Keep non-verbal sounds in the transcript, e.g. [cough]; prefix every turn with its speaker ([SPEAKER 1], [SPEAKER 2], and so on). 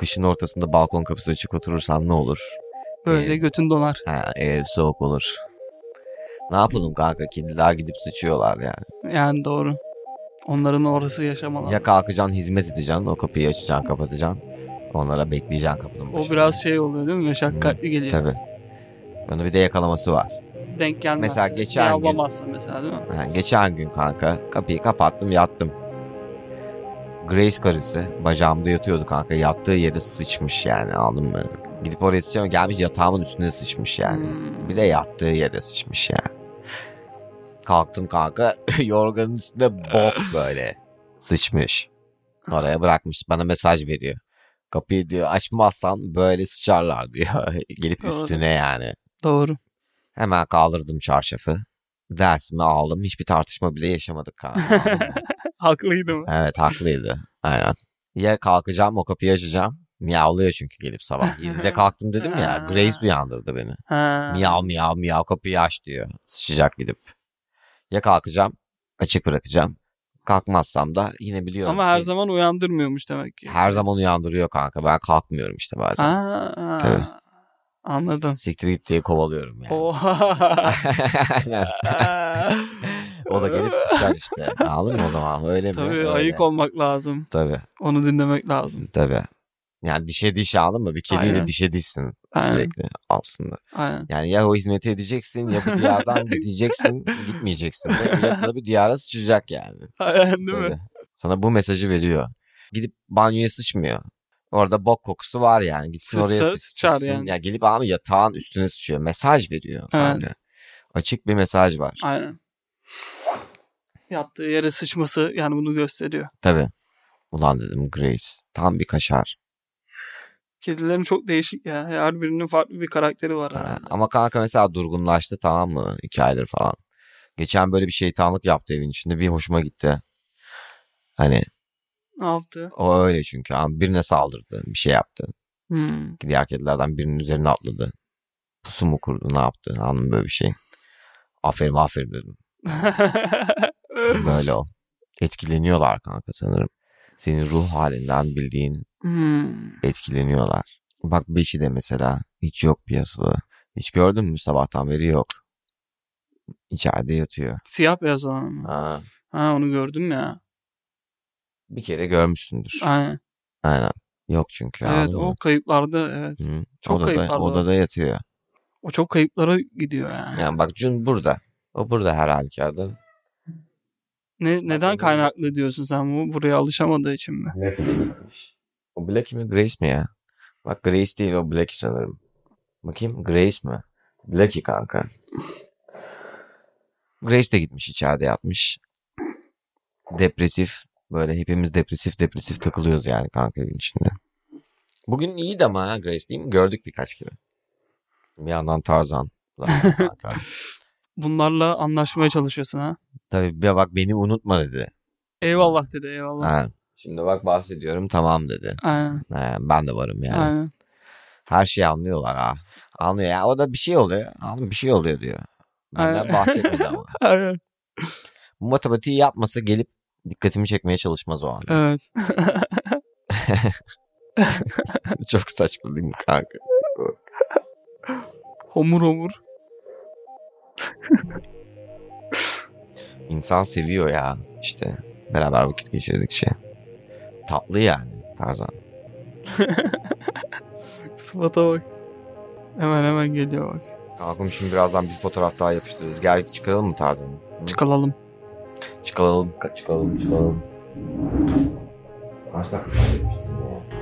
[SPEAKER 1] kışın ortasında balkon kapısı açık oturursan ne olur?
[SPEAKER 2] Böyle
[SPEAKER 1] Ee,
[SPEAKER 2] götün donar.
[SPEAKER 1] Ha, ev soğuk olur. Ne yapalım kanka? Kediler gidip sıçıyorlar yani.
[SPEAKER 2] Yani doğru. Onların orası yaşam alanı.
[SPEAKER 1] Ya kalkacaksın hizmet edeceksin. O kapıyı açacaksın kapatacaksın. Onlara bekleyeceksin kapının
[SPEAKER 2] o
[SPEAKER 1] başında.
[SPEAKER 2] biraz şey oluyor değil mi? Meşakkatli geliyor.
[SPEAKER 1] Tabii. Onun bir de yakalaması var.
[SPEAKER 2] Denk gelmez.
[SPEAKER 1] Mesela geçen gün-
[SPEAKER 2] Yavlamazsın mesela değil mi?
[SPEAKER 1] Ha, geçen gün kanka kapıyı kapattım yattım. Grace karısı bacağımda yatıyordu kanka. Yattığı yere sıçmış yani anladın mı? Gidip oraya sıçacağım gelmiş yatağımın üstüne sıçmış yani.
[SPEAKER 2] Hmm.
[SPEAKER 1] Bir de yattığı yere sıçmış yani. Kalktım kanka [laughs] yorganın üstüne bok böyle sıçmış. Oraya bırakmış bana mesaj veriyor. Kapıyı diyor açmazsan böyle sıçarlar diyor. [laughs] Gelip
[SPEAKER 2] Doğru.
[SPEAKER 1] üstüne yani.
[SPEAKER 2] Doğru. [laughs]
[SPEAKER 1] Hemen kaldırdım çarşafı. Dersimi aldım. Hiçbir tartışma bile yaşamadık kanka. anladın
[SPEAKER 2] [laughs]
[SPEAKER 1] mı?
[SPEAKER 2] Haklıydım.
[SPEAKER 1] evet haklıydı. Aynen. Ya kalkacağım o kapıyı açacağım. Miyavlıyor çünkü gelip sabah. 7'de kalktım dedim
[SPEAKER 2] [laughs]
[SPEAKER 1] ya. Grace uyandırdı beni.
[SPEAKER 2] Ha.
[SPEAKER 1] Miyav miyav miyav kapıyı aç diyor. Sıçacak gidip. Ya kalkacağım. Açık bırakacağım. Kalkmazsam da yine biliyorum
[SPEAKER 2] Ama her
[SPEAKER 1] ki
[SPEAKER 2] zaman uyandırmıyormuş demek ki.
[SPEAKER 1] her zaman uyandırıyor kanka. Ben kalkmıyorum işte bazen.
[SPEAKER 2] Ha.
[SPEAKER 1] Tabii.
[SPEAKER 2] Anladım.
[SPEAKER 1] Siktir git diye kovalıyorum yani. [laughs]
[SPEAKER 2] Oha.
[SPEAKER 1] Aynen. o da
[SPEAKER 2] [laughs]
[SPEAKER 1] gelip sıçar işte. Anladın mı o zaman? Öyle mi?
[SPEAKER 2] Tabii
[SPEAKER 1] Öyle.
[SPEAKER 2] ayık olmak lazım.
[SPEAKER 1] Tabii
[SPEAKER 2] Onu dinlemek lazım.
[SPEAKER 1] tabii. Yani dişe diş anladın mı? Bir kediyle
[SPEAKER 2] Aynen.
[SPEAKER 1] dişe dişsin
[SPEAKER 2] Aynen.
[SPEAKER 1] sürekli aslında.
[SPEAKER 2] Aynen.
[SPEAKER 1] Yani ya o hizmeti edeceksin ya bu
[SPEAKER 2] [laughs]
[SPEAKER 1] diyardan gideceksin gitmeyeceksin. de Ya da bir diyara sıçacak yani.
[SPEAKER 2] Aynen değil mi?
[SPEAKER 1] Tabii. Sana bu mesajı veriyor. Gidip banyoya sıçmıyor. Orada bok kokusu var yani. Gitsin
[SPEAKER 2] Sıçsa
[SPEAKER 1] oraya sıç-
[SPEAKER 2] sıçar
[SPEAKER 1] sıçsın.
[SPEAKER 2] yani.
[SPEAKER 1] Ya gelip abi yatağın üstüne sıçıyor. Mesaj veriyor. kanka. Açık bir mesaj var.
[SPEAKER 2] Aynen. Yattığı yere sıçması yani bunu gösteriyor.
[SPEAKER 1] Tabii. Ulan dedim Grace. Tam bir kaşar.
[SPEAKER 2] Kedilerin çok değişik ya. Her birinin farklı bir karakteri var.
[SPEAKER 1] Ha,
[SPEAKER 2] herhalde.
[SPEAKER 1] Ee, Ama kanka mesela durgunlaştı tamam mı? İki aydır falan. Geçen böyle bir şeytanlık yaptı evin içinde. Bir hoşuma gitti. Hani
[SPEAKER 2] Ne yaptı?
[SPEAKER 1] o öyle çünkü. Ama Birine saldırdı. Bir şey yaptı.
[SPEAKER 2] Hmm. [laughs]
[SPEAKER 1] Diğer kedilerden birinin üzerine atladı. Pusu mu kurdu ne yaptı? Anladım böyle bir şey. Aferin aferin dedim. Böyle o. Etkileniyorlar kanka sanırım. Senin ruh halinden bildiğin
[SPEAKER 2] Hmm.
[SPEAKER 1] etkileniyorlar. Bak beşi de mesela hiç yok piyasada. Hiç gördün mü sabahtan beri yok. İçeride yatıyor.
[SPEAKER 2] Siyah beyaz olan mı?
[SPEAKER 1] Ha,
[SPEAKER 2] Ha onu gördüm ya.
[SPEAKER 1] bir kere görmüşsündür.
[SPEAKER 2] Aynen.
[SPEAKER 1] Aynen. Yok çünkü.
[SPEAKER 2] evet
[SPEAKER 1] anladın
[SPEAKER 2] o
[SPEAKER 1] mı?
[SPEAKER 2] kayıplarda evet.
[SPEAKER 1] Hı.
[SPEAKER 2] çok kayıp
[SPEAKER 1] odada,
[SPEAKER 2] vardı.
[SPEAKER 1] odada yatıyor.
[SPEAKER 2] O çok kayıplara gidiyor yani.
[SPEAKER 1] Yani bak Cun burada. O burada her halükarda.
[SPEAKER 2] Ne, neden
[SPEAKER 1] Bak-
[SPEAKER 2] kaynaklı diyorsun sen bu buraya alışamadığı için mi?
[SPEAKER 1] O Black mi Grace mi ya? Bak Grace değil o Black sanırım. Bakayım Grace mi? Blacky kanka. Grace de gitmiş içeride yatmış. Depresif. Böyle hepimiz depresif depresif takılıyoruz yani kanka evin içinde. Bugün iyiydi ama ha Grace değil mi? Gördük birkaç kere. Bir yandan Tarzan. kanka.
[SPEAKER 2] Bunlarla anlaşmaya çalışıyorsun ha.
[SPEAKER 1] Tabii bir bak beni unutma dedi.
[SPEAKER 2] Eyvallah dedi eyvallah.
[SPEAKER 1] Ha. Şimdi bak bahsediyorum tamam dedi.
[SPEAKER 2] Aynen.
[SPEAKER 1] Ha, ben de varım yani.
[SPEAKER 2] Aynen.
[SPEAKER 1] Her şeyi anlıyorlar ha. Anlıyor ya. O da bir şey oluyor. Anladın, bir şey oluyor diyor. Benden
[SPEAKER 2] Aynen.
[SPEAKER 1] bahsetmedi [laughs] ama.
[SPEAKER 2] Aynen.
[SPEAKER 1] Bu matematiği yapmasa gelip dikkatimi çekmeye çalışmaz o an.
[SPEAKER 2] Evet.
[SPEAKER 1] [laughs] Çok saçma değil mi kanka?
[SPEAKER 2] Homur homur.
[SPEAKER 1] İnsan seviyor ya işte. Beraber vakit geçirdikçe. Tatlı yani Tarzan.
[SPEAKER 2] Sıfata bak. Hemen hemen geliyor bak.
[SPEAKER 1] Kalkım şimdi birazdan bir fotoğraf daha yapıştırırız. Gel çıkaralım mı Tarzan'ı?
[SPEAKER 2] Çıkalalım.
[SPEAKER 1] Çıkalım. Çıkalım. Çıkalım. Kaç dakika yapıştırdın ya?